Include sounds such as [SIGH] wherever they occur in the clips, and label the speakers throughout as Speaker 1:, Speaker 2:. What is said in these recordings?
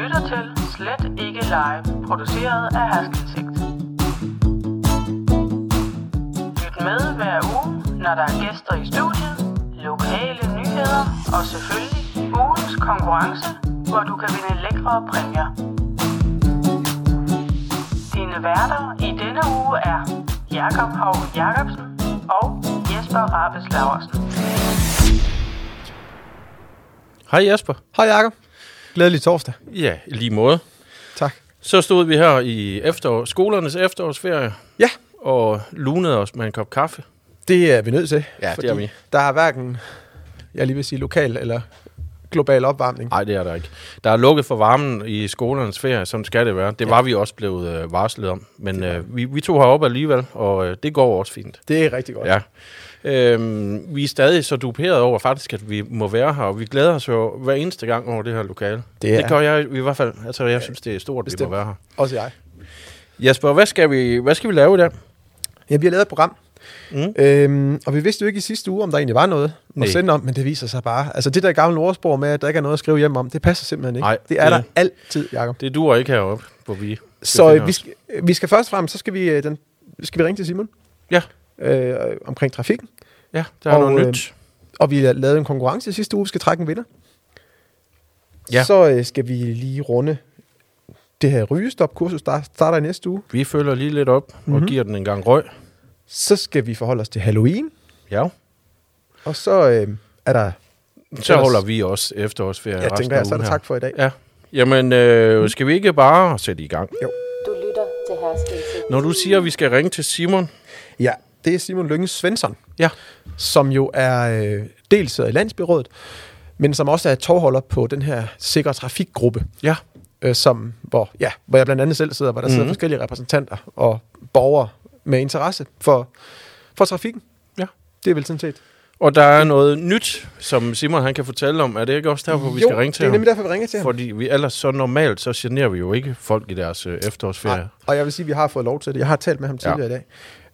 Speaker 1: lytter til Slet ikke live, produceret af Haskelsigt. Lyt med hver uge, når der er gæster i studiet, lokale nyheder og selvfølgelig ugens konkurrence, hvor du kan vinde lækre præmier. Dine værter i denne uge er Jakob Hov Jacobsen og Jesper Rabes Laversen.
Speaker 2: Hej Jesper.
Speaker 3: Hej Jakob. Glædelig torsdag.
Speaker 2: Ja, i lige måde.
Speaker 3: Tak.
Speaker 2: Så stod vi her i efterår, skolernes efterårsferie
Speaker 3: Ja,
Speaker 2: og lunede os med en kop kaffe.
Speaker 3: det er vi nødt til.
Speaker 2: Ja, det
Speaker 3: fordi
Speaker 2: er vi.
Speaker 3: Der er hverken, jeg lige vil sige, lokal eller global opvarmning.
Speaker 2: Nej, det er der ikke. Der er lukket for varmen i skolernes ferie, som skal det være. Det var vi også blevet øh, varslet om, men øh, vi, vi tog heroppe alligevel, og øh, det går også fint.
Speaker 3: Det er rigtig godt.
Speaker 2: Ja. Øhm, vi er stadig så duperet over faktisk, at vi må være her, og vi glæder os jo hver eneste gang over det her lokale.
Speaker 3: Det er-
Speaker 2: det gør jeg i hvert fald. Altså, jeg synes, det er stort, at vi må
Speaker 3: Bestemt.
Speaker 2: være her.
Speaker 3: Også jeg.
Speaker 2: Jesper, hvad skal vi, hvad skal vi lave i dag?
Speaker 3: Ja, vi har lavet et program,
Speaker 2: Mm.
Speaker 3: øhm, og vi vidste jo ikke i sidste uge, om der egentlig var noget
Speaker 2: Nej.
Speaker 3: at sende om, men det viser sig bare. Altså det der gamle ordsprog med, at der ikke er noget at skrive hjem om, det passer simpelthen ikke.
Speaker 2: Nej,
Speaker 3: det er
Speaker 2: det-
Speaker 3: der altid, Jakob.
Speaker 2: Det duer ikke heroppe, hvor vi
Speaker 3: Så
Speaker 2: befinder
Speaker 3: øh, vi,
Speaker 2: os.
Speaker 3: skal, vi skal først frem, så skal vi, øh, den, skal vi ringe til Simon
Speaker 2: Ja,
Speaker 3: øh, omkring trafikken,
Speaker 2: ja der er
Speaker 3: Og,
Speaker 2: noget
Speaker 3: øh,
Speaker 2: nyt.
Speaker 3: og vi har lavet en konkurrence i sidste uge, vi skal trække en vinder.
Speaker 2: Ja.
Speaker 3: Ja. Så øh, skal vi lige runde det her rygestop-kursus, der starter i næste uge.
Speaker 2: Vi følger lige lidt op og
Speaker 3: Mhm.
Speaker 2: mm-hmm. giver den en gang røg.
Speaker 3: Så skal vi forholde os til Halloween,
Speaker 2: Ja.
Speaker 3: og så øh, er der...
Speaker 2: Så
Speaker 3: Ellers-
Speaker 2: holder vi også efterårsferie.
Speaker 3: Jeg
Speaker 2: resten
Speaker 3: tænker, jeg,
Speaker 2: af
Speaker 3: så er
Speaker 2: ugen
Speaker 3: det
Speaker 2: her.
Speaker 3: tak for i dag.
Speaker 2: Ja. Jamen, øh, skal vi ikke bare sætte i gang?
Speaker 4: Du lytter til Herskelse.
Speaker 2: Når du siger, at vi skal ringe til Simon.
Speaker 3: Ja, det er Simon Lønge Svensson,
Speaker 2: Ja.
Speaker 3: som jo er øh, dels sidder i landsbyrådet, men som også er tovholder på den her sikre trafikgruppe,
Speaker 2: Ja.
Speaker 3: øh, som, hvor, ja, hvor jeg blandt andet selv sidder, hvor der sidder
Speaker 2: Mhm.
Speaker 3: forskellige repræsentanter og borgere med interesse for, for trafikken.
Speaker 2: Ja.
Speaker 3: Det er vel sådan set
Speaker 2: Og der er noget nyt, som Simon han kan fortælle om. Er det ikke også derfor, vi
Speaker 3: jo,
Speaker 2: skal ringe til
Speaker 3: det er
Speaker 2: ham?
Speaker 3: nemlig derfor, vi ringer til ham.
Speaker 2: Fordi vi ellers så normalt, så generer vi jo ikke folk i deres øh, efterårsferie.
Speaker 3: Nej, og jeg vil sige, at vi har fået lov til det. Jeg har talt med ham
Speaker 2: Ja.
Speaker 3: tidligere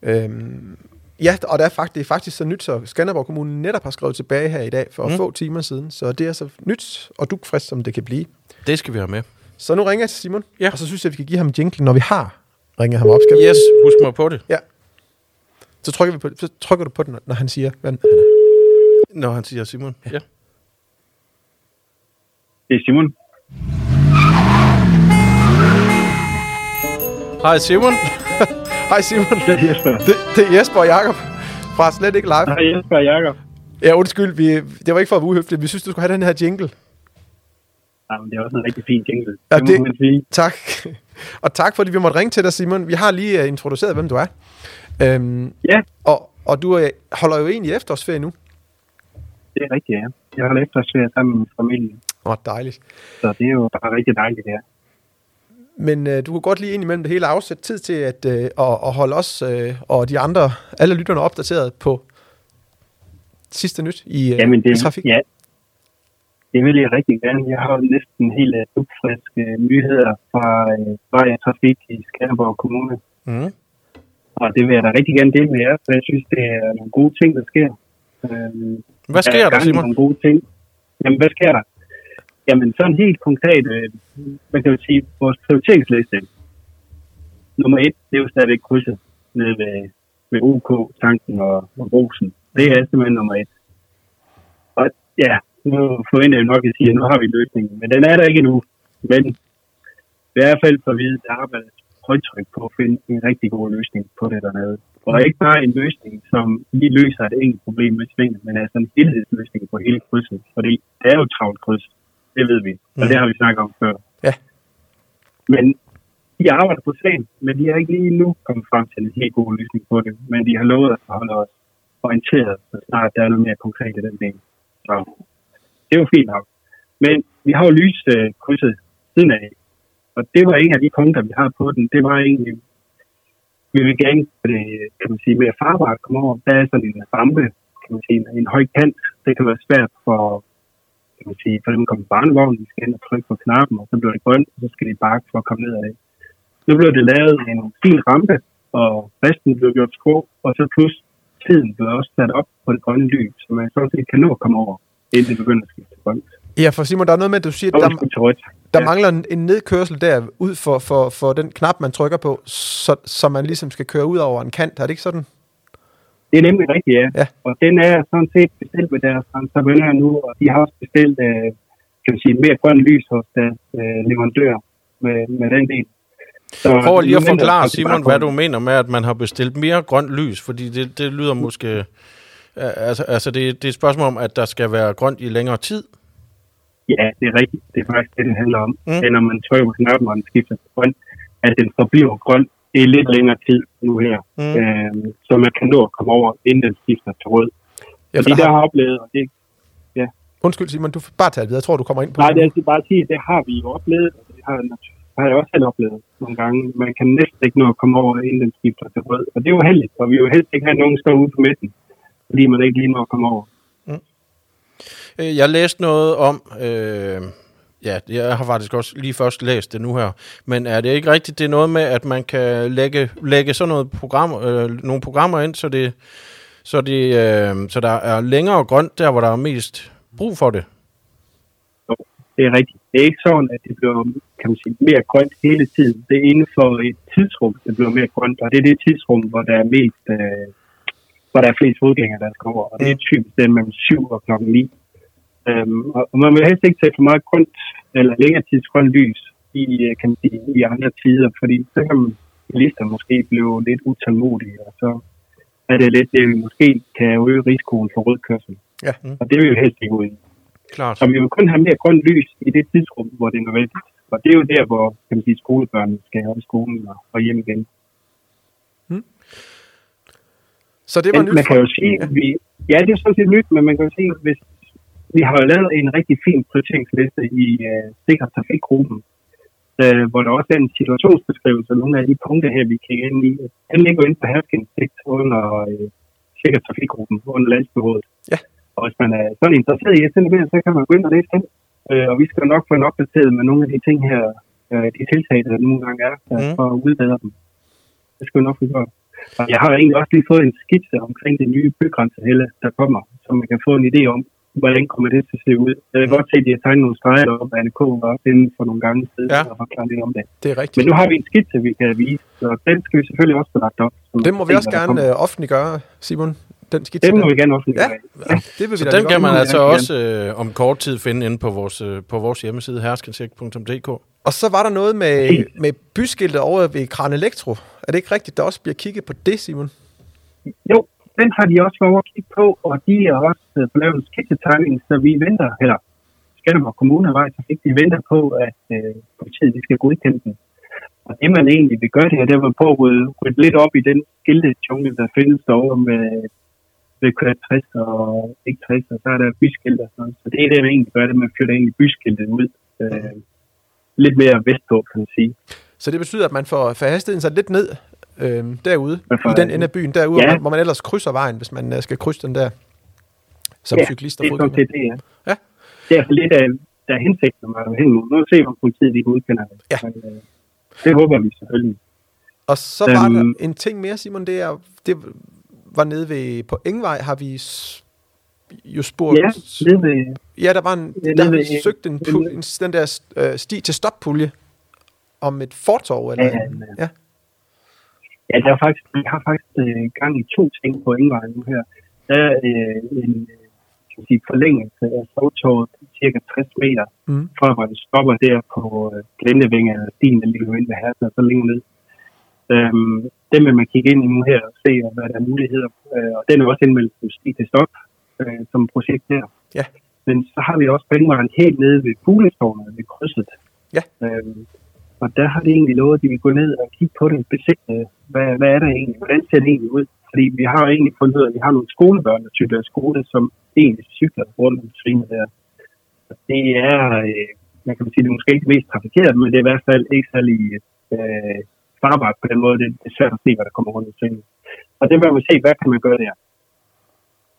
Speaker 3: ja. i dag. Øhm, ja, og det er, faktisk, det er faktisk så nyt, så Skanderborg Kommune netop har skrevet tilbage her i dag for
Speaker 2: Mm.
Speaker 3: mm. få timer siden. Så det er så nyt og dukfrisk, som det kan blive.
Speaker 2: Det skal vi have med.
Speaker 3: Så nu ringer jeg til Simon,
Speaker 2: Ja.
Speaker 3: ja. og så synes jeg, at vi kan give ham jinglen, når vi har ringet ham op. Skal vi?
Speaker 2: Yes, husk mig på det,
Speaker 3: Ja. Så trykker, vi på, så trykker du på den, når han siger, hvad han
Speaker 2: når han siger Simon. Ja.
Speaker 5: Det er Simon.
Speaker 2: Hej Simon.
Speaker 3: Hej Simon,
Speaker 5: Det er Jesper.
Speaker 3: det, det er Jesper og Jacob fra Slet Ikke Live.
Speaker 5: Hej Jesper og Jacob.
Speaker 3: Ja, undskyld, vi, det var ikke for at være uhøfligt. Vi synes, du skulle have den her jingle.
Speaker 5: Nej, men det er også en rigtig fin jingle.
Speaker 3: Ja,
Speaker 5: Ja, det,
Speaker 3: det-
Speaker 5: det må man sige.
Speaker 3: Tak. [LAUGHS] Og tak, fordi vi måtte ringe til dig, Simon. Vi har lige uh, introduceret, hvem du er. Øhm,
Speaker 5: Ja,
Speaker 3: og, og du uh, holder jo egentlig efterårsferie nu.
Speaker 5: det er rigtigt, ja. Jeg har efterårsferie sammen med familien,
Speaker 3: Åh, oh, dejligt.
Speaker 5: så det er jo bare rigtig dejligt, ja.
Speaker 3: Men uh, du kan godt lige indimellem det hele afsætte tid til at, uh, at, at holde os uh, og de andre, alle lytterne opdateret på sidste nyt i, uh,
Speaker 5: Jamen, det,
Speaker 3: i trafik.
Speaker 5: ja. det vil jeg rigtig gerne. Jeg har jo næsten helt uh, friske nyheder fra uh, vej og trafik i Skanderborg Kommune.
Speaker 2: Mm.
Speaker 5: Og det vil jeg da rigtig gerne dele med jer, for jeg synes, det er nogle gode ting, der sker. Øhm,
Speaker 2: Hvad sker
Speaker 5: er
Speaker 2: der,
Speaker 5: gang i
Speaker 2: Simon?
Speaker 5: Nogle gode ting. Jamen, hvad sker der? Jamen, sådan helt konkret, øh, man kan jo sige, vores prioriteringsliste. Nummer et, det er jo stadigvæk krydset nede ved, ved OK, Tanken og, og Rosen. Det er simpelthen nummer et. Og ja, nu forventer jeg nok, at I siger, at nu har vi løsningen. Men den er der ikke endnu. Men i hvert fald for vidt, der arbejdes højtryk på at finde en rigtig god løsning på det dernede. Og ikke bare en løsning, som lige løser et enkelt problem med svinget, men altså en helhedsløsning på hele krydset. Fordi det er jo et travlt kryds, det ved vi, og det har vi snakket om før.
Speaker 3: Ja.
Speaker 5: Men de arbejder på sagen, men de er ikke lige nu kommet frem til en helt god løsning på det. Men de har lovet at holde os orienteret, så snart der er noget mere konkret i den del. Så det er jo fint nok. Men vi har jo lys øh, krydset siden af, og det var en af de punkter, vi har på den. Det var egentlig, vi vil gerne gøre det, kan man sige, mere farbart komme over. Der er sådan en rampe, kan man sige, en høj kant. Det kan være svært for, kan man sige, for dem kommer barnevognen, de skal ind og trykke på knappen, og så bliver det grønt, og så skal de bakke for at komme ned af det. Nu blev det lavet en fin rampe, og resten blev gjort skrå, og så plus tiden blev også sat op på det grønne lys, så man sådan set kan nå at komme over, inden det begynder at skifte til grønt.
Speaker 3: ja, for Simon, der er noget med, at du siger,
Speaker 5: Og
Speaker 3: at
Speaker 5: der...
Speaker 3: der,
Speaker 5: til rødt.
Speaker 3: Der ja.
Speaker 5: Ja.
Speaker 3: mangler en, en nedkørsel der ud for, for, for den knap, man trykker på, så, så man ligesom skal køre ud over en kant. Er det ikke sådan?
Speaker 5: Det er nemlig rigtigt, ja.
Speaker 3: Ja.
Speaker 5: ja. Og den er sådan set bestilt ved deres entreprenør nu, og de har også bestilt øh, kan man sige, mere grøn lys hos deres øh, leverandør med, med den del. Så
Speaker 2: Prøv lige at
Speaker 5: nu venter
Speaker 2: forklare,
Speaker 5: jeg faktisk
Speaker 2: Simon,
Speaker 5: bare på-
Speaker 2: hvad du mener med, at man har bestilt mere grønt lys, fordi det, det
Speaker 5: Mm.
Speaker 2: lyder måske... Øh, Altså, altså det, det er et spørgsmål om, at der skal være grønt i længere tid.
Speaker 5: Ja, det er rigtigt. Det er faktisk det, det handler om.
Speaker 2: Mm.
Speaker 5: Mm. Når man trykker på knappen, og den skifter til grøn, at den forbliver grøn i lidt længere tid nu her,
Speaker 2: Mm.
Speaker 5: mm. øh, så man kan nå at komme over, inden den skifter til rød.
Speaker 3: Ja,
Speaker 5: Ja, Fordi
Speaker 3: for
Speaker 5: der
Speaker 3: har,
Speaker 5: har oplevet, og det,
Speaker 3: undskyld Simon, du får bare tage det videre. Jeg tror, du kommer ind på
Speaker 5: nej, det
Speaker 3: det.
Speaker 5: er altså bare at sige, det har vi jo oplevet, og det har, det har jeg også selv oplevet nogle gange. Man kan næsten ikke nå at komme over, inden den skifter til rød. Og det er jo heldigt, og vi vil jo helst ikke have at nogen, der står ude på midten, fordi man ikke lige når at komme over.
Speaker 2: Øh, Jeg læste noget om, øh, ja, jeg har faktisk også lige først læst det nu her, men er det ikke rigtigt, det er noget med, at man kan lægge, lægge sådan noget program, øh, nogle programmer ind, så, det, så, det, øh, så der er længere grønt der, hvor der er mest brug for det?
Speaker 5: Det er rigtigt. Det er ikke sådan, at det bliver kan man sige, mere grønt hele tiden. Det er inden for et tidsrum, det bliver mere grønt, og det er det tidsrum, hvor der er mest, øh, hvor der er flest fodgængere, der skal over. Og det er typisk den mellem 7 og klokken 9. Øhm, og og man vil helst ikke tage for meget grønt, eller længere tids grønt lys i, øh, kan man sige, i andre tider, fordi så kan bilister måske blive lidt utålmodige, og så er det lidt, det måske kan øge risikoen for rødkørsel.
Speaker 3: Ja.
Speaker 5: Og det vil vi helst ikke ud i.
Speaker 2: Klart.
Speaker 5: Så vi vil kun have mere grønt lys i det tidsrum, hvor det er nødvendigt. Og det er jo der, hvor kan man sige, skolebørnene skal have i skolen og- og hjem igen.
Speaker 3: Så det var
Speaker 5: Men
Speaker 3: nyt.
Speaker 5: man kan jo sige, at vi... Ja, det er sådan set nyt, men man kan jo sige, hvis vi har jo lavet en rigtig fin prioriteringsliste i uh, Sikker Trafikgruppen, uh, hvor der også er en situationsbeskrivelse og nogle af de punkter her, vi kan ind i. Den ligger jo inde på herskindsigt under uh, Sikker Trafikgruppen, under landsbehovedet.
Speaker 3: Ja.
Speaker 5: Og hvis man er sådan interesseret i at sende så kan man gå ind og læse den. Uh, og vi skal jo nok få en opdateret med nogle af de ting her, uh, de tiltag, der nogle gange er, uh,
Speaker 3: Mhm.
Speaker 2: Mm.
Speaker 5: for at udbedre dem. Det skal vi nok få gjort. Og jeg har egentlig også lige fået en skitse omkring det nye bygrænsehælde, der kommer, så man kan få en idé om, hvordan kommer det til at se ud. Jeg kan godt se, at de har tegnet nogle streger op, at NK var også inde for nogle gange siden
Speaker 2: Ja.
Speaker 5: ja. og forklare lidt om det.
Speaker 3: Det er rigtigt.
Speaker 5: Men nu har vi en skitse, vi kan vise, så den skal vi selvfølgelig også få lagt op. så man
Speaker 3: Den
Speaker 5: kan
Speaker 3: må
Speaker 5: se,
Speaker 3: vi også
Speaker 5: hvad der
Speaker 3: gerne
Speaker 5: kommer.
Speaker 3: øh, offentliggøre, Simon. Den skitse.
Speaker 5: Den må
Speaker 3: der.
Speaker 5: vi gerne også
Speaker 3: Ja,
Speaker 5: lave.
Speaker 3: ja, det vil
Speaker 2: Så
Speaker 3: vi da
Speaker 2: den
Speaker 3: godt.
Speaker 2: kan man
Speaker 5: nu,
Speaker 2: altså
Speaker 5: ja.
Speaker 2: også øh, om kort tid finde inde på vores, øh, på vores hjemmeside, herskensigt.dk.
Speaker 3: Og så var der noget med,
Speaker 5: Præcis.
Speaker 3: med byskiltet over ved Kran Elektro. Er det ikke rigtigt, der også bliver kigget på det, Simon?
Speaker 5: Jo, den har de også været over at kigge på, og de er også øh, på lavet en skitsetegning, så vi venter, eller Skanderborg Kommune og Vejtrafik, de venter på, at øh, politiet de skal godkende den. Og det man egentlig vil gøre det her, det er man på at rydde, rydde lidt op i den skilte jungle, der findes derovre med ved kører 60 og ikke 60, og så er der byskilte og sådan noget. Så det er det, man egentlig gør, det er, man flytter egentlig byskiltet ud øh, lidt mere vestpå, kan man sige.
Speaker 3: Så det betyder, at man får, får hastigheden så lidt ned øhm, derude,
Speaker 5: Man får-
Speaker 3: i den ende af byen, derude,
Speaker 5: Ja.
Speaker 3: ja. hvor man ellers krydser vejen, hvis man øh, skal krydse den der som ja, cyklist og
Speaker 5: det er sådan
Speaker 3: fodgænger.
Speaker 5: set det, ja.
Speaker 3: Ja.
Speaker 5: Det er altså lidt af, der er hensigten med at hen mod. Nu se, hvor politiet de udkender det.
Speaker 3: Ja.
Speaker 5: Men, øh, det håber vi selvfølgelig.
Speaker 3: Og så var øhm,
Speaker 5: Øhm.
Speaker 3: der en ting mere, Simon, det, er, det var nede ved, på Engvej, har vi s- jo spurgt...
Speaker 5: Ja, øh, nede ved,
Speaker 3: ja der var en,
Speaker 5: Ja,
Speaker 3: der
Speaker 5: nede
Speaker 3: har vi
Speaker 5: ved-
Speaker 3: søgt en, pu- en, den der øh, sti til stoppulje om et fortorv, eller...
Speaker 5: Ja,
Speaker 3: en- ja.
Speaker 5: ja, der er faktisk, vi har faktisk øh, gang i to ting på Ingvejen nu her. Der er øh, en øh, kan man sige, forlængelse af sovtåret cirka 60 meter,
Speaker 3: Mm.
Speaker 5: mm. fra hvor det stopper der på øh, Glendevinge eller stien, der ligger inde ved Hersen og så længere ned. Øhm, den vil man kigge ind i nu her og se, hvad der er muligheder. Øh, og den er også indmeldt som sti til stop øh, som projekt der.
Speaker 3: Ja.
Speaker 5: Men så har vi også Bengvaren helt nede ved Fuglestårnet ved krydset.
Speaker 3: Ja.
Speaker 5: Øhm, og der har de egentlig lovet, at de vil gå ned og kigge på det og besigte, hvad, hvad er der egentlig, hvordan ser det egentlig ud? Fordi vi har jo egentlig fundet ud af, at vi har nogle skolebørn, der cykler i skole, som egentlig cykler rundt om svinet der. Og det er, øh, man kan sige, det er måske ikke det mest trafikeret, men det er i hvert fald ikke særlig øh, farbart på den måde. Det er svært at se, hvad der kommer rundt om svinet. Og det vil man se, hvad kan man gøre der?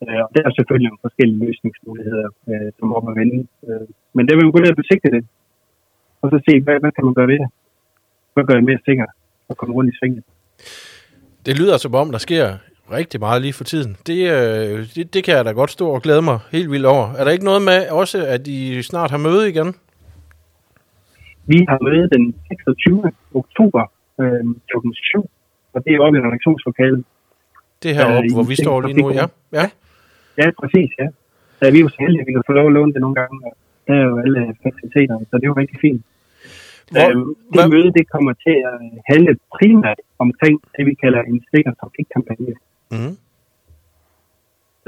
Speaker 5: Øh, og der er selvfølgelig nogle forskellige løsningsmuligheder, øh, som er op at vende. Øh, men der vil man gå ned og besigte det, og så se, hvad, hvad kan man gøre ved det? Hvad gør det mere sikkert at komme rundt i svinget?
Speaker 2: Det lyder som om, der sker rigtig meget lige for tiden. Det, øh, det, det kan jeg da godt stå og glæde mig helt vildt over. Er der ikke noget med også, at I snart har møde igen?
Speaker 5: Vi har møde den 26. oktober øh, kl. 7, og det er oppe i redaktionslokalet.
Speaker 2: Det her
Speaker 5: Øh,
Speaker 2: oppe,
Speaker 5: i
Speaker 2: hvor vi
Speaker 5: Tænk
Speaker 2: står lige nu, ja.
Speaker 5: Trafikrum.
Speaker 2: Ja,
Speaker 5: Ja, præcis, ja. Så vi er jo så heldige, at vi kan få lov at låne det nogle gange, og der er jo alle faciliteterne, så det er jo rigtig fint.
Speaker 2: Hvor-
Speaker 5: øhm, det
Speaker 2: hvad-
Speaker 5: møde, det kommer til at handle primært omkring det, vi kalder en sikker trafikkampagne.
Speaker 2: Mhm.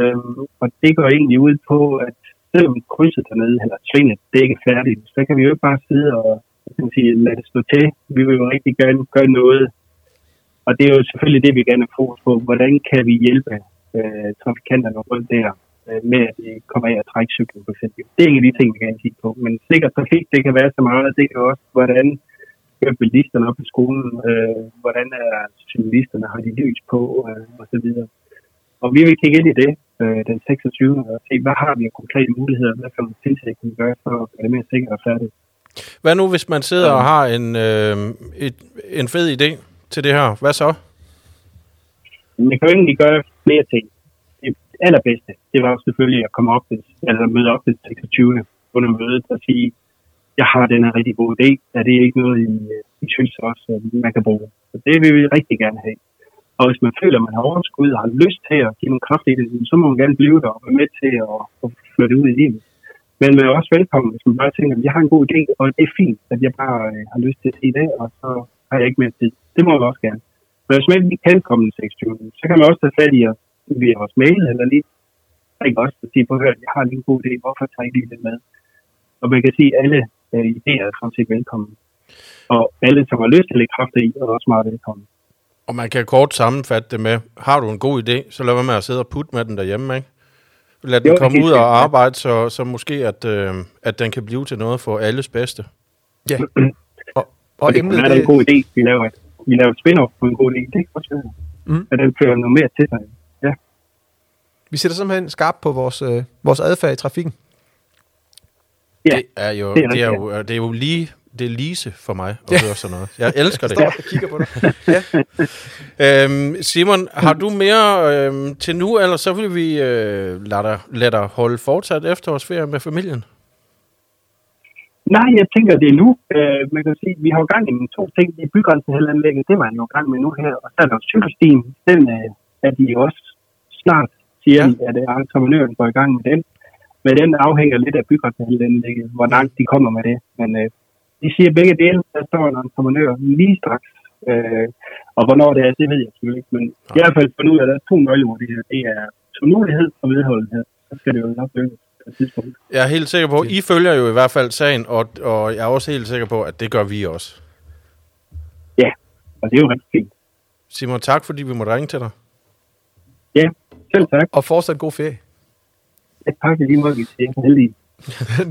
Speaker 5: Øhm, og det går egentlig ud på, at selvom krydset dernede, eller svinget, det ikke er færdigt, så kan vi jo ikke bare sidde og hvad skal man sige, lade det stå til. Vi vil jo rigtig gerne gøre noget. Og det er jo selvfølgelig det, vi gerne har fokus på. Hvordan kan vi hjælpe øh, trafikanterne rundt der øh, med, at de kommer af at trække cyklen for eksempel. Det er en af de ting, vi gerne kigge på. Men sikker trafik, det kan være så meget. Det kan også, hvordan kører bilisterne op i skolen? Øh, hvordan er cyklisterne? Har de lys på? Øh, og så videre. Og vi vil kigge ind i det øh, den 26. og se, hvad har vi af konkrete muligheder, hvad for nogle tiltag kan vi gøre for at gøre det mere sikkert og færdigt.
Speaker 2: Hvad nu, hvis man sidder og har en, øh, et, en fed idé til det her? Hvad så?
Speaker 5: Men man kan jo egentlig gøre flere ting. Det allerbedste, det var jo selvfølgelig at komme op til, eller møde op til 26. under mødet og sige, jeg har den her rigtig gode idé, er det ikke noget, I, øh, I synes også, at man kan bruge? Så det vil vi rigtig gerne have. Og hvis man føler, at man har overskud og har lyst til at give nogle kræfter i det, så må man gerne blive der og være med til at, at føre det ud i livet. Men man er også velkommen, hvis man bare tænker, at jeg har en god idé, og det er fint, at jeg bare øh, har lyst til det i dag, og så har jeg ikke mere tid. Det må man også gerne. Men hvis man ikke kan komme den 26. så kan man også tage fat i os via vores mail, eller lige ringe os og sige, prøv at høre, jeg har lige en god idé, hvorfor tager I lige det med? Og man kan sige, at alle øh, idéer er sådan set velkommen. Og alle, som har lyst til at lægge kræfter i, er også meget velkommen.
Speaker 2: Og man kan kort sammenfatte det med, har du en god idé, så lad være med at sidde og putte med den derhjemme, ikke? Lad den
Speaker 5: Jo,
Speaker 2: komme
Speaker 5: helt
Speaker 2: ud og
Speaker 5: sikkert, ja.
Speaker 2: arbejde, så, så måske, at, øh, at den kan blive til noget for alles bedste.
Speaker 5: [CLEARS THROAT]
Speaker 3: Ja. Og,
Speaker 5: Og
Speaker 3: og
Speaker 5: det
Speaker 3: emnet, øh,
Speaker 5: kunne være, det er en god idé, vi laver et, vi laver et spin-off på en god idé. Det kan også være,
Speaker 3: Mm.
Speaker 5: mm. at den fører noget mere til sig. Ja,
Speaker 3: vi sætter simpelthen skarpt på vores, øh, vores adfærd i trafikken.
Speaker 5: ja.
Speaker 2: Det er jo,
Speaker 5: Det er
Speaker 2: det er
Speaker 5: rigtigt,
Speaker 2: jo, det er jo lige det er lise for mig at ja. høre sådan noget. Jeg
Speaker 5: [LAUGHS]
Speaker 2: elsker det.
Speaker 3: Står og kigger på dig. Ja.
Speaker 2: Øhm, Simon, har du mere øhm, til nu, eller så vil vi øh, lade, dig, lade dig holde fortsat efterårsferie med familien?
Speaker 5: Nej, jeg tænker, det er nu. Øh, man kan sige, vi har jo gang i nogle to ting. I bygrænsehalvanlægget, det var han jo i gang med nu her. Og så er der jo cykelstien. Den øh, er de jo også snart, siger
Speaker 2: Ja.
Speaker 5: ja. at øh, entreprenøren går i gang med den. Men den afhænger lidt af bygrænsehalvanlægget, hvor langt de kommer med det. Men øh, de siger begge dele, der står en entreprenør lige straks. Øh, og hvornår det er, det ved jeg selvfølgelig ikke. Men ja. i hvert fald fundet ud af, at der er to nøgleord i det her. Det er tålmodighed og vedholdenhed. Så skal det jo nok lykkes på et tidspunkt.
Speaker 2: Jeg er helt sikker på, I følger jo i hvert fald sagen, og, og jeg er også helt sikker på, at det gør vi også.
Speaker 5: Ja, og det er jo rigtig fint.
Speaker 2: Simon, tak fordi vi måtte ringe til dig.
Speaker 5: Ja, selv tak.
Speaker 3: Og fortsat god ferie. [LAUGHS]
Speaker 5: Jeg takker lige måde, vi ser heldige.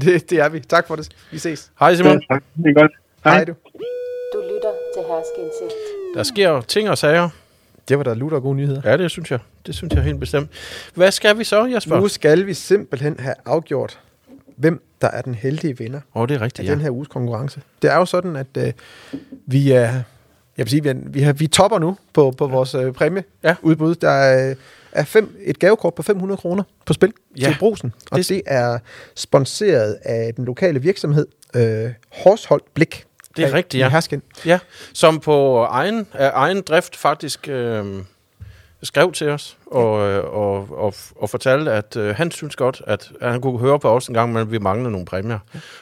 Speaker 3: det, det er vi. Tak for det. Vi ses.
Speaker 2: Hej
Speaker 5: Ja,
Speaker 2: Simon.
Speaker 5: tak. Det er godt.
Speaker 3: Hej du.
Speaker 4: Du lytter til Herskeindsigt.
Speaker 2: Der sker jo ting og sager.
Speaker 3: Det var da lutter gode nyheder.
Speaker 2: Ja, det synes jeg. Det synes jeg helt bestemt. Hvad skal vi så, Jesper?
Speaker 3: Nu
Speaker 2: Åh,
Speaker 3: skal vi simpelthen have afgjort, hvem der er den heldige vinder
Speaker 2: oh, det er
Speaker 3: af
Speaker 2: rigtigt,
Speaker 3: ja.
Speaker 2: ja.
Speaker 3: den her uges konkurrence. Det er jo sådan, at øh, vi er... Jeg vil sige, vi, er, vi, har, vi topper nu på, på vores øh,
Speaker 2: Ja.
Speaker 3: præmieudbud. Der er, øh, er fem, et gavekort på 500 kroner på spil
Speaker 2: Ja.
Speaker 3: ja. til brusen. Og
Speaker 2: Det-
Speaker 3: det, det er sponsoreret af den lokale virksomhed øh, Horshold Blik.
Speaker 2: Det er rigtigt, ja.
Speaker 3: Hersken.
Speaker 2: ja. Som på egen, af egen drift faktisk øh, skrev til os og, øh, og, og, og fortalte, at øh, han synes godt, at, at han kunne høre på os en gang, men vi manglede nogle præmier.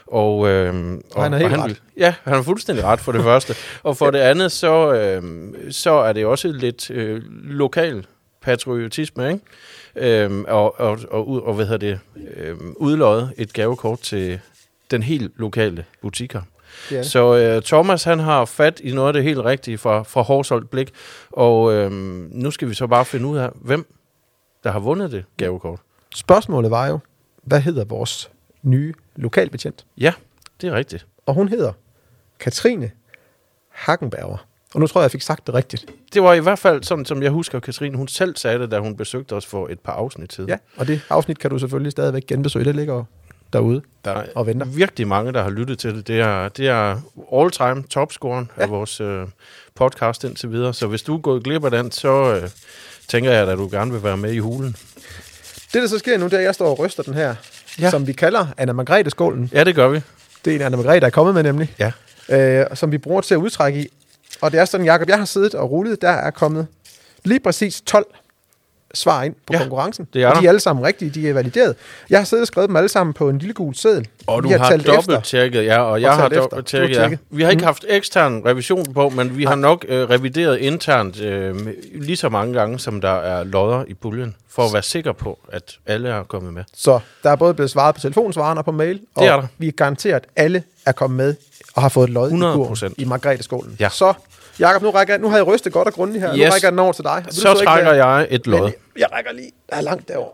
Speaker 2: Og, øh, og,
Speaker 3: helt
Speaker 2: og
Speaker 3: ret.
Speaker 2: ville- Ja, han er fuldstændig ret for det første. Og for det andet, så, øh, så er det også lidt øh, lokal patriotisme, ikke? Øhm, og, og, og, ud- og hvad hedder det, øhm, udløjet et gavekort til den helt lokale butikker.
Speaker 3: Det er det.
Speaker 2: Så øh, Thomas, han har fat i noget af det helt rigtige fra, fra Horsholdt Blik, og øhm, nu skal vi så bare finde ud af, hvem der har vundet det gavekort.
Speaker 3: Spørgsmålet var jo, hvad hedder vores nye lokalbetjent?
Speaker 2: Ja, det er rigtigt.
Speaker 3: Og hun hedder Katrine Hackenberger. Og nu tror jeg, jeg fik sagt det rigtigt.
Speaker 2: Det var i hvert fald sådan, som jeg husker, Katrine, hun selv sagde det, da hun besøgte os for et par afsnit siden.
Speaker 3: Ja, og det afsnit kan du selvfølgelig stadigvæk genbesøge. Det ligger derude
Speaker 2: Der er
Speaker 3: og venter.
Speaker 2: virkelig mange, der har lyttet til det. Det er, det er all-time topscoren ja. af vores øh, podcast indtil videre. Så hvis du er gået glip af den, så øh, tænker jeg, at du gerne vil være med i hulen.
Speaker 3: Det, der så sker nu, det er, at jeg står og ryster den her,
Speaker 2: Ja.
Speaker 3: ja. som vi kalder Anna Margrethe-skålen.
Speaker 2: Ja, det gør vi.
Speaker 3: Det er en Anna Margrethe, der er kommet med nemlig.
Speaker 2: Ja.
Speaker 3: øh, som vi bruger til at udtrække i. Og det er sådan, Jacob, jeg har siddet og rullet, der er kommet lige præcis 12 svar ind på
Speaker 2: Ja,
Speaker 3: ja, konkurrencen.
Speaker 2: det er
Speaker 3: og de
Speaker 2: der.
Speaker 3: er alle sammen rigtige, de er valideret. Jeg har siddet og skrevet dem alle sammen på en lille gul seddel.
Speaker 2: Og du
Speaker 3: Vi
Speaker 2: har
Speaker 3: talt
Speaker 2: dobbelt
Speaker 3: efter.
Speaker 2: tjekket, ja, og jeg
Speaker 3: talt
Speaker 2: har
Speaker 3: efter.
Speaker 2: dobbelt tjekket,
Speaker 3: Du har
Speaker 2: ja.
Speaker 3: tjekket. Mm.
Speaker 2: Vi har ikke haft ekstern revision på, men vi har nok øh, revideret internt øh, lige så mange gange, som der er lodder i puljen, for at være sikker på, at alle er kommet med.
Speaker 3: Så der er både blevet svaret på telefonsvaren og på mail. Og
Speaker 2: er der.
Speaker 3: vi er garanteret, at alle er kommet med og har fået et lod i
Speaker 2: 100%.
Speaker 3: kurven i Margrethe-skolen.
Speaker 2: Ja.
Speaker 3: Så, Jacob, nu, rækker jeg, nu har jeg rystet godt og grundigt her. Nu
Speaker 2: Yes.
Speaker 3: rækker jeg den over til dig. Vil du
Speaker 2: Så
Speaker 3: ikke,
Speaker 2: trækker
Speaker 3: øh,
Speaker 2: jeg et lod.
Speaker 3: Men jeg rækker lige. Der er langt derovre.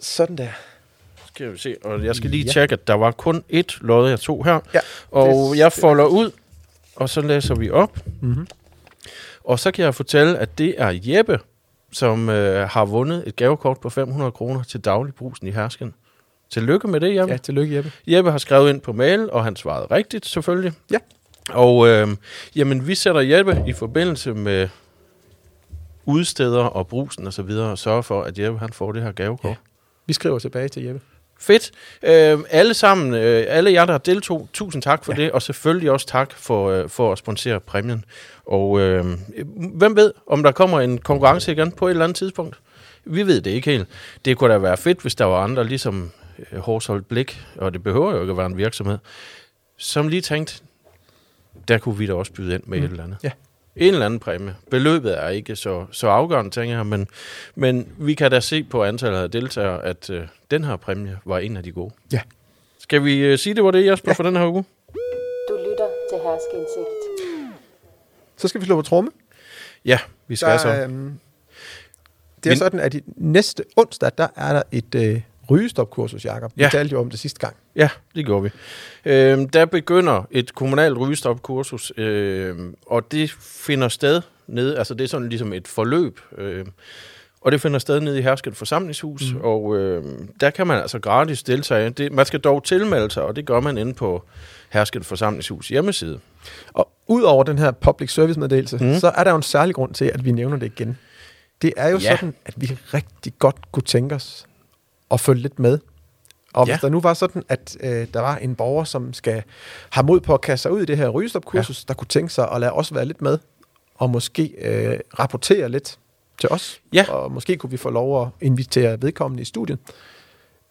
Speaker 3: Sådan der.
Speaker 2: Skal vi se, og jeg skal lige
Speaker 3: Ja.
Speaker 2: tjekke, at der var kun ét lod, jeg tog her.
Speaker 3: Ja,
Speaker 2: og
Speaker 3: det-
Speaker 2: jeg folder ud, og så læser vi op. Mm-hmm. Og så kan jeg fortælle, at det er Jeppe, som øh, har vundet et gavekort på 500 kroner til dagligbrusen i Hersken. Tillykke med det, Jeppe.
Speaker 3: Ja, tillykke, Jeppe.
Speaker 2: Jeppe har skrevet ind på mail, og han svarede rigtigt selvfølgelig.
Speaker 3: Ja.
Speaker 2: Og øh, jamen, vi sætter Jeppe i forbindelse med udsteder og brusen og så videre, og sørger for, at Jeppe han får det her gavekort. Ja.
Speaker 3: Vi skriver tilbage til Jeppe.
Speaker 2: Fedt. Øh, alle sammen, øh, alle jer, der deltog, tusind tak for ja. det, og selvfølgelig også tak for, øh, for at sponsere præmien. Og øh, hvem ved, om der kommer en konkurrence igen på et eller andet tidspunkt? Vi ved det ikke helt. Det kunne da være fedt, hvis der var andre, ligesom øh, Horsholdt Blik, og det behøver jo ikke at være en virksomhed, som lige tænkte, der kunne vi da også byde ind med mm. et eller andet.
Speaker 3: Ja.
Speaker 2: En eller anden præmie. Beløbet er ikke så, så afgørende, tænker jeg, men, men vi kan da se på antallet af deltagere, at øh, den her præmie var en af de gode.
Speaker 3: Ja.
Speaker 2: Skal vi øh, sige, det var det, Jesper, ja. for den her uge?
Speaker 4: Du lytter til Herskindsigt.
Speaker 3: Så skal vi slå på tromme.
Speaker 2: Ja, vi skal så.
Speaker 3: øhm, det er
Speaker 2: Vi-
Speaker 3: sådan, at i næste onsdag, der er der et øh, rygestopkursus, Jacob. Ja.
Speaker 2: Ja.
Speaker 3: Vi talte jo om det sidste gang.
Speaker 2: Ja, det gjorde vi. Øhm, der begynder et kommunalt rygestopkursus, øhm, og det finder sted nede, altså det er sådan ligesom et forløb, øhm, og det finder sted nede i Hersket Forsamlingshus, mm.
Speaker 3: Mhm.
Speaker 2: og øhm, der kan man altså gratis deltage. Det, man skal dog tilmelde sig, og det gør man inde på Hersket Forsamlingshus hjemmeside.
Speaker 3: Og udover den her public service meddelelse, mm. så er der jo en særlig grund til, at vi nævner det igen. Det er jo
Speaker 2: Ja.
Speaker 3: ja. sådan, at vi rigtig godt kunne tænke os at følge lidt med. Og ja.
Speaker 2: Ja.
Speaker 3: hvis der nu var sådan, at øh, der var en borger, som skal have mod på at kaste sig ud i det her rygestopkursus, ja. der kunne tænke sig at lade os være lidt med, og måske øh, rapportere lidt til os.
Speaker 2: Ja.
Speaker 3: Og måske kunne vi få lov at invitere vedkommende i studiet.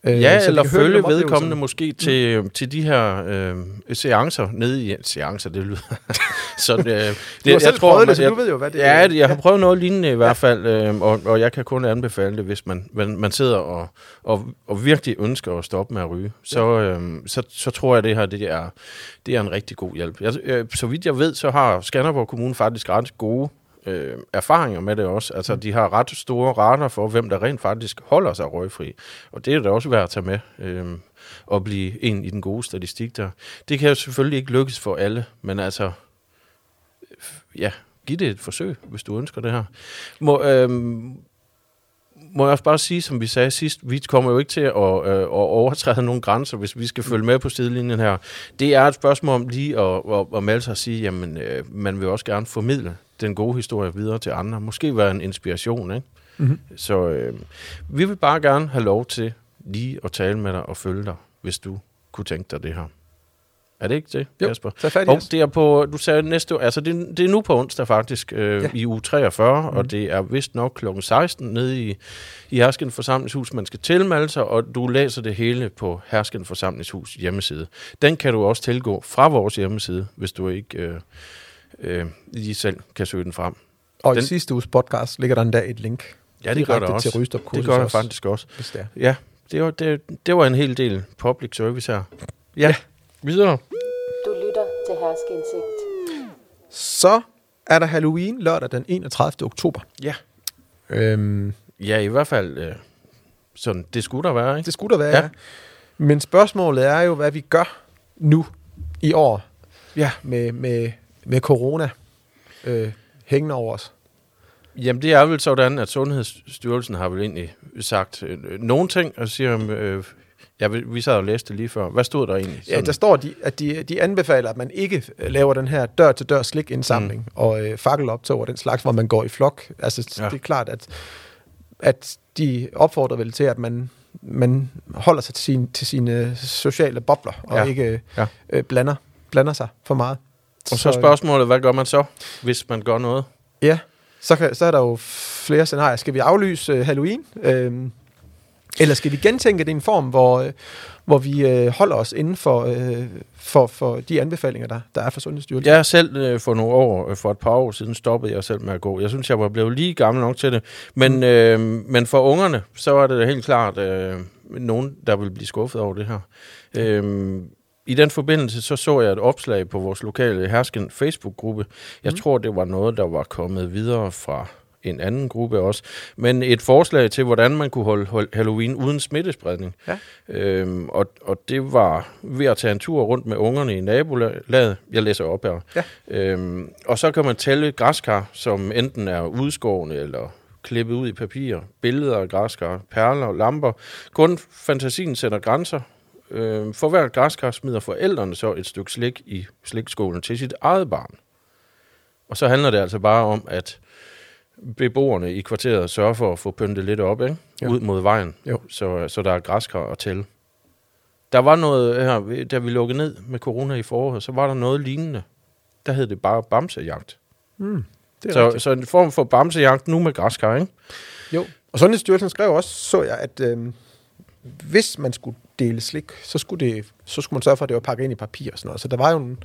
Speaker 3: Øh,
Speaker 2: Ja,
Speaker 3: så vi
Speaker 2: eller
Speaker 3: kan høre lidt
Speaker 2: følge
Speaker 3: om Mm. oplevelserne.
Speaker 2: vedkommende måske til, til de her øh, seancer nede i... Seancer, det lyder... [LAUGHS] sådan, øh, det,
Speaker 3: selv prøvet det, så du ved jo, hvad det
Speaker 2: ja,
Speaker 3: er.
Speaker 2: Ja, jeg har prøvet noget lignende i hvert fald, øh, og, og jeg kan kun anbefale det, hvis man, man, man sidder og, og, og virkelig ønsker at stoppe med at ryge. Så, øh, så, så tror jeg, det her det er, det er en rigtig god hjælp. Jeg, øh, så vidt jeg ved, så har Skanderborg Kommune faktisk ret gode øh, erfaringer med det også. Altså,
Speaker 3: Mm.
Speaker 2: de har ret store rater for, hvem der rent faktisk holder sig røgfri. Og det er da også værd at tage med øh, og blive en i den gode statistik der. Det kan jo selvfølgelig ikke lykkes for alle, men altså, f- ja, giv det et forsøg, hvis du ønsker det her. Må, øhm, må jeg også bare sige, som vi sagde sidst, vi kommer jo ikke til at, øh, at overtræde nogle grænser, hvis vi skal følge med på sidelinjen her. Det er et spørgsmål om lige at, at, at melde sig og sige, jamen, øh, man vil også gerne formidle den gode historie videre til andre. Måske være en inspiration, ikke? Mm-hmm. Så øh, vi vil bare gerne have lov til lige at tale med dig og følge dig, hvis du kunne tænke dig det her. Er det ikke det,
Speaker 3: Jo,
Speaker 2: Jesper?
Speaker 3: tag fat i
Speaker 2: Hov,
Speaker 3: os.
Speaker 2: det er på, du sagde næste altså det, det er nu på onsdag faktisk, øh,
Speaker 3: Ja. Mhm.
Speaker 2: ja. i uge 43, mm. og det er vist nok kl. 16 nede i, i Hersken Forsamlingshus, man skal tilmelde sig, og du læser det hele på Hersken Forsamlingshus hjemmeside. Den kan du også tilgå fra vores hjemmeside, hvis du ikke øh, øh, lige selv kan søge den frem.
Speaker 3: Og
Speaker 2: Den-
Speaker 3: i sidste uges podcast ligger der endda et link.
Speaker 2: Ja, det gør
Speaker 3: direkte
Speaker 2: der også.
Speaker 3: til rygestopkursus
Speaker 2: det gør der
Speaker 3: også,
Speaker 2: faktisk også.
Speaker 3: Hvis det er.
Speaker 2: Ja, det var, det, det var en hel del public service her. Ja, ja. videre.
Speaker 4: Du lytter til Herskindsigt.
Speaker 3: Så er der Halloween lørdag den 31. oktober.
Speaker 2: Ja.
Speaker 3: Øhm,
Speaker 2: Ja, i hvert fald øh, sådan, det skulle der være, ikke?
Speaker 3: det skulle der være.
Speaker 2: Ja.
Speaker 3: Ja. Men spørgsmålet er jo, hvad vi gør nu i år
Speaker 2: ja.
Speaker 3: med, med, med corona øh, hængende over os.
Speaker 2: Jamen, det er vel sådan, at Sundhedsstyrelsen har vel egentlig sagt øh, nogle ting, og siger, om, øh, ja, vi vi sad og læste det lige før. Hvad stod der egentlig?
Speaker 3: Ja,
Speaker 2: Sådan-
Speaker 3: der står, de, at de, de anbefaler, at man ikke øh, laver den her dør-til-dør slikindsamling mm. og øh, fakkeloptog og den slags, hvor man går i flok. Altså,
Speaker 2: Ja.
Speaker 3: ja. det er klart, at, at de opfordrer vel til, at man, man holder sig til, sin, til sine sociale bobler og
Speaker 2: Ja.
Speaker 3: ikke
Speaker 2: Ja.
Speaker 3: ja. øh, blander blander sig for meget.
Speaker 2: Og så er
Speaker 3: øh,
Speaker 2: spørgsmålet, hvad gør man så, hvis man gør noget?
Speaker 3: Ja, så, kan, så er der jo flere scenarier. Skal vi aflyse øh, Halloween? Øhm, eller skal vi gentænke det i en form, hvor, øh, hvor vi øh, holder os inden for, øh, for, for de anbefalinger, der, der er fra Sundhedsstyrelsen?
Speaker 2: Jeg har selv øh, for nogle år, øh, for et par år siden, stoppede jeg selv med at gå. Jeg synes, jeg var blevet lige gammel nok til det. Men, mm. øh, men for ungerne, så er det da helt klart øh, nogen, der vil blive skuffet over det her. Øh, I den forbindelse, så så jeg et opslag på vores lokale hersken Facebook-gruppe. Jeg mm. tror, det var noget, der var kommet videre fra en anden gruppe også, men et forslag til, hvordan man kunne holde holde Halloween uden smittespredning.
Speaker 3: Ja.
Speaker 2: Øhm, og, og det var ved at tage en tur rundt med ungerne i nabolaget. Jeg læser op her.
Speaker 3: Ja.
Speaker 2: Øhm, og så kan man tælle græskar, som enten er udskårne eller klippet ud i papir, billeder af græskar, perler og lamper. Kun fantasien sætter grænser. Øhm, for hver græskar smider forældrene så et stykke slik i slikskålen til sit eget barn. Og så handler det altså bare om, at beboerne i kvarteret sørger for at få pyntet lidt op, ikke?
Speaker 3: Jo.
Speaker 2: ud mod vejen,
Speaker 3: Jo.
Speaker 2: Så, så der er græskar at tælle. Der var noget her, da vi lukkede ned med corona i foråret, så var der noget lignende. Der hed det bare bamsejagt.
Speaker 3: det er
Speaker 2: Så, så en form for bamsejagt nu med græskar, ikke?
Speaker 3: Jo. Og Sundhedsstyrelsen skrev også, så jeg, at øh, hvis man skulle dele slik, så skulle, det, så skulle man sørge for, at det var pakket ind i papir og sådan noget. Så der var jo en,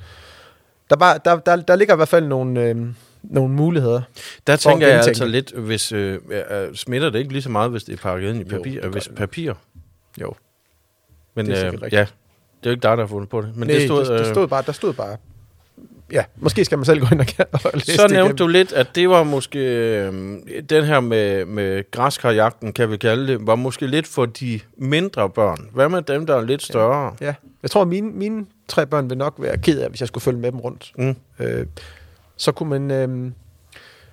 Speaker 3: der, var, der, der, der ligger i hvert fald nogle, øh, nogle muligheder.
Speaker 2: Der
Speaker 3: For at
Speaker 2: tænker jeg
Speaker 3: gentænke.
Speaker 2: altså lidt, hvis øh, øh, smitter det ikke lige så meget, hvis det er pakket ind i papir, jo, hvis papir.
Speaker 3: Jo.
Speaker 2: Men
Speaker 3: Det er
Speaker 2: det
Speaker 3: sikkert
Speaker 2: øh,
Speaker 3: rigtigt.
Speaker 2: ja, det er jo ikke dig, der har fundet på det. Men
Speaker 3: Men Nej,
Speaker 2: det stod,
Speaker 3: det, det
Speaker 2: øh,
Speaker 3: stod bare, der stod bare, ja, måske skal man selv gå ind og, [LAUGHS] og læse
Speaker 2: Så
Speaker 3: det
Speaker 2: nævnte
Speaker 3: igennem.
Speaker 2: du lidt, at det var måske... Øh, den her med, med græskarjagten, kan vi kalde det, var måske lidt for de mindre børn. Hvad med dem, der er lidt større?
Speaker 3: Ja, jeg tror, at mine, mine tre børn vil nok være ked af, hvis jeg skulle følge med dem rundt.
Speaker 2: Mm.
Speaker 3: Øh, så kunne man, øh,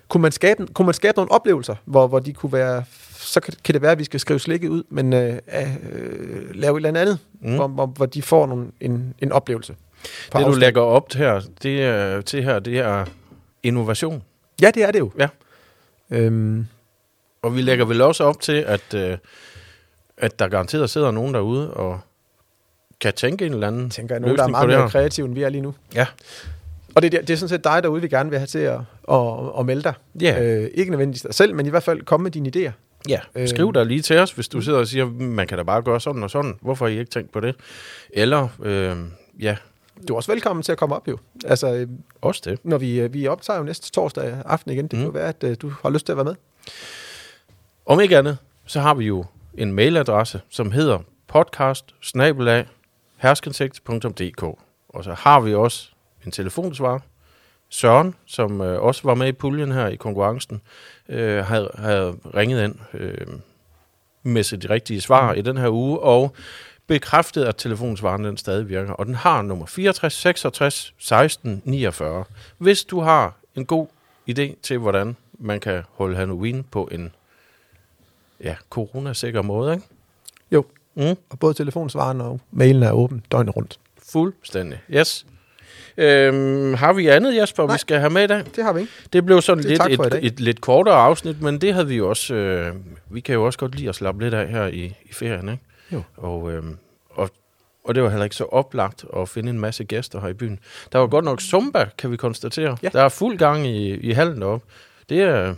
Speaker 3: kunne, man skabe, kunne man skabe nogle oplevelser, hvor, hvor de kunne være, så kan, kan det være, at vi skal skrive slikket ud, men øh, at, øh, lave et eller andet andet, mm. hvor, hvor, hvor de får nogle, en, en oplevelse. på
Speaker 2: Det, du
Speaker 3: afstand.
Speaker 2: lægger op til her, det, er- til her, det er innovation.
Speaker 3: Ja, det er det jo.
Speaker 2: Ja.
Speaker 3: Øhm,
Speaker 2: Og vi lægger vel også op til, at, øh, at der garanteret sidder nogen derude og kan tænke en eller anden
Speaker 3: jeg tænker jeg, nogen, der er
Speaker 2: løsning på
Speaker 3: meget
Speaker 2: det
Speaker 3: mere
Speaker 2: her.
Speaker 3: kreative, end vi er lige nu.
Speaker 2: Ja.
Speaker 3: Og det, er der- det er sådan set dig derude, vi gerne vil have til at, at, at melde dig.
Speaker 2: Ja.
Speaker 3: Øh, ikke nødvendigvis dig selv, men i hvert fald komme med dine idéer.
Speaker 2: Ja,
Speaker 3: Øh.
Speaker 2: skriv der lige til os, hvis du sidder og siger, "Mm, man kan da bare gøre sådan og sådan. Hvorfor har I ikke tænkt på det? Eller, øh, ja,
Speaker 3: Du er også velkommen til at komme op jo. Altså, øh,
Speaker 2: også det.
Speaker 3: når vi, øh, vi optager jo næste torsdag aften igen, det mm. kan jo være, at øh, du har lyst til at være med.
Speaker 2: Om ikke andet, så har vi jo en mailadresse, som hedder podcast Og så har vi også en telefonsvarer. Søren, som øh, også var med i puljen her i konkurrencen, øh, havde, havde ringet ind øh, med sit rigtige svar i den her uge, og bekræftet, at telefonsvaren den stadig virker. Og den har nummer 64 66 16 49. Hvis du har en god idé til, hvordan man kan holde Halloween på en ja, coronasikker måde, ikke?
Speaker 3: Jo.
Speaker 2: Mm.
Speaker 3: Og både telefonsvaren og mailen er åben døgnet rundt.
Speaker 2: Fuldstændig. Yes. Øhm, har vi andet, Jesper, Nej. vi skal have med i dag?
Speaker 3: Det har vi ikke.
Speaker 2: Det blev sådan
Speaker 3: Det er
Speaker 2: lidt
Speaker 3: tak for i
Speaker 2: et,
Speaker 3: dag.
Speaker 2: et, lidt kortere afsnit, men det havde vi jo også... Øh, vi kan jo også godt lide at slappe lidt af her i, i ferien, ikke?
Speaker 3: Jo.
Speaker 2: Og, øh, og, og det var heller ikke så oplagt at finde en masse gæster her i byen. Der var godt nok Zumba, kan vi konstatere.
Speaker 3: Ja.
Speaker 2: Der er fuld gang i, i hallen deroppe. Det, øh,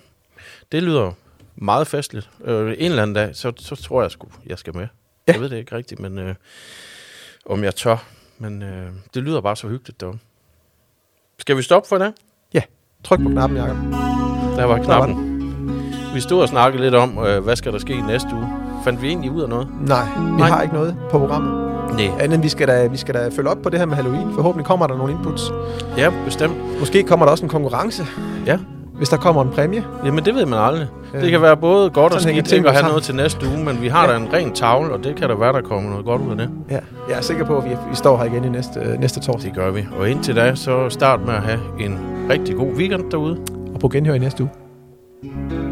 Speaker 2: det lyder meget festligt. Øh, en eller anden dag, så, så tror jeg sgu, jeg skal med.
Speaker 3: Ja.
Speaker 2: Jeg ved det ikke rigtigt, men øh, om jeg tør. Men øh, det lyder bare så hyggeligt deroppe. Skal vi stoppe for det?
Speaker 3: Ja. Tryk på knappen, Jacob.
Speaker 2: Der var
Speaker 3: var
Speaker 2: knappen. Vi stod og snakkede lidt om, øh, hvad skal der ske i næste uge. Fandt vi egentlig ud af noget?
Speaker 3: Nej, vi
Speaker 2: Nej.
Speaker 3: Nej. har ikke noget på programmet.
Speaker 2: Nej.
Speaker 3: Andet end vi skal, da, vi skal da følge op på det her med Halloween. Forhåbentlig kommer der nogle inputs.
Speaker 2: Ja, bestemt.
Speaker 3: Måske kommer der også en konkurrence,
Speaker 2: Ja.
Speaker 3: hvis der kommer en præmie.
Speaker 2: Jamen, det ved man aldrig.
Speaker 3: Øh,
Speaker 2: Det kan være både godt og
Speaker 3: sådan hænger
Speaker 2: skidt ikke
Speaker 3: tingene
Speaker 2: at have
Speaker 3: sammen.
Speaker 2: noget til næste uge, men vi har
Speaker 3: Ja.
Speaker 2: da en ren tavle, og det kan da være, der kommer noget godt ud af det.
Speaker 3: Ja. Jeg er sikker på, at vi, vi står her igen i næste, øh, næste torsdag.
Speaker 2: Det gør vi. Og indtil da, så start med at have en rigtig god weekend derude.
Speaker 3: Og på genhør i næste uge.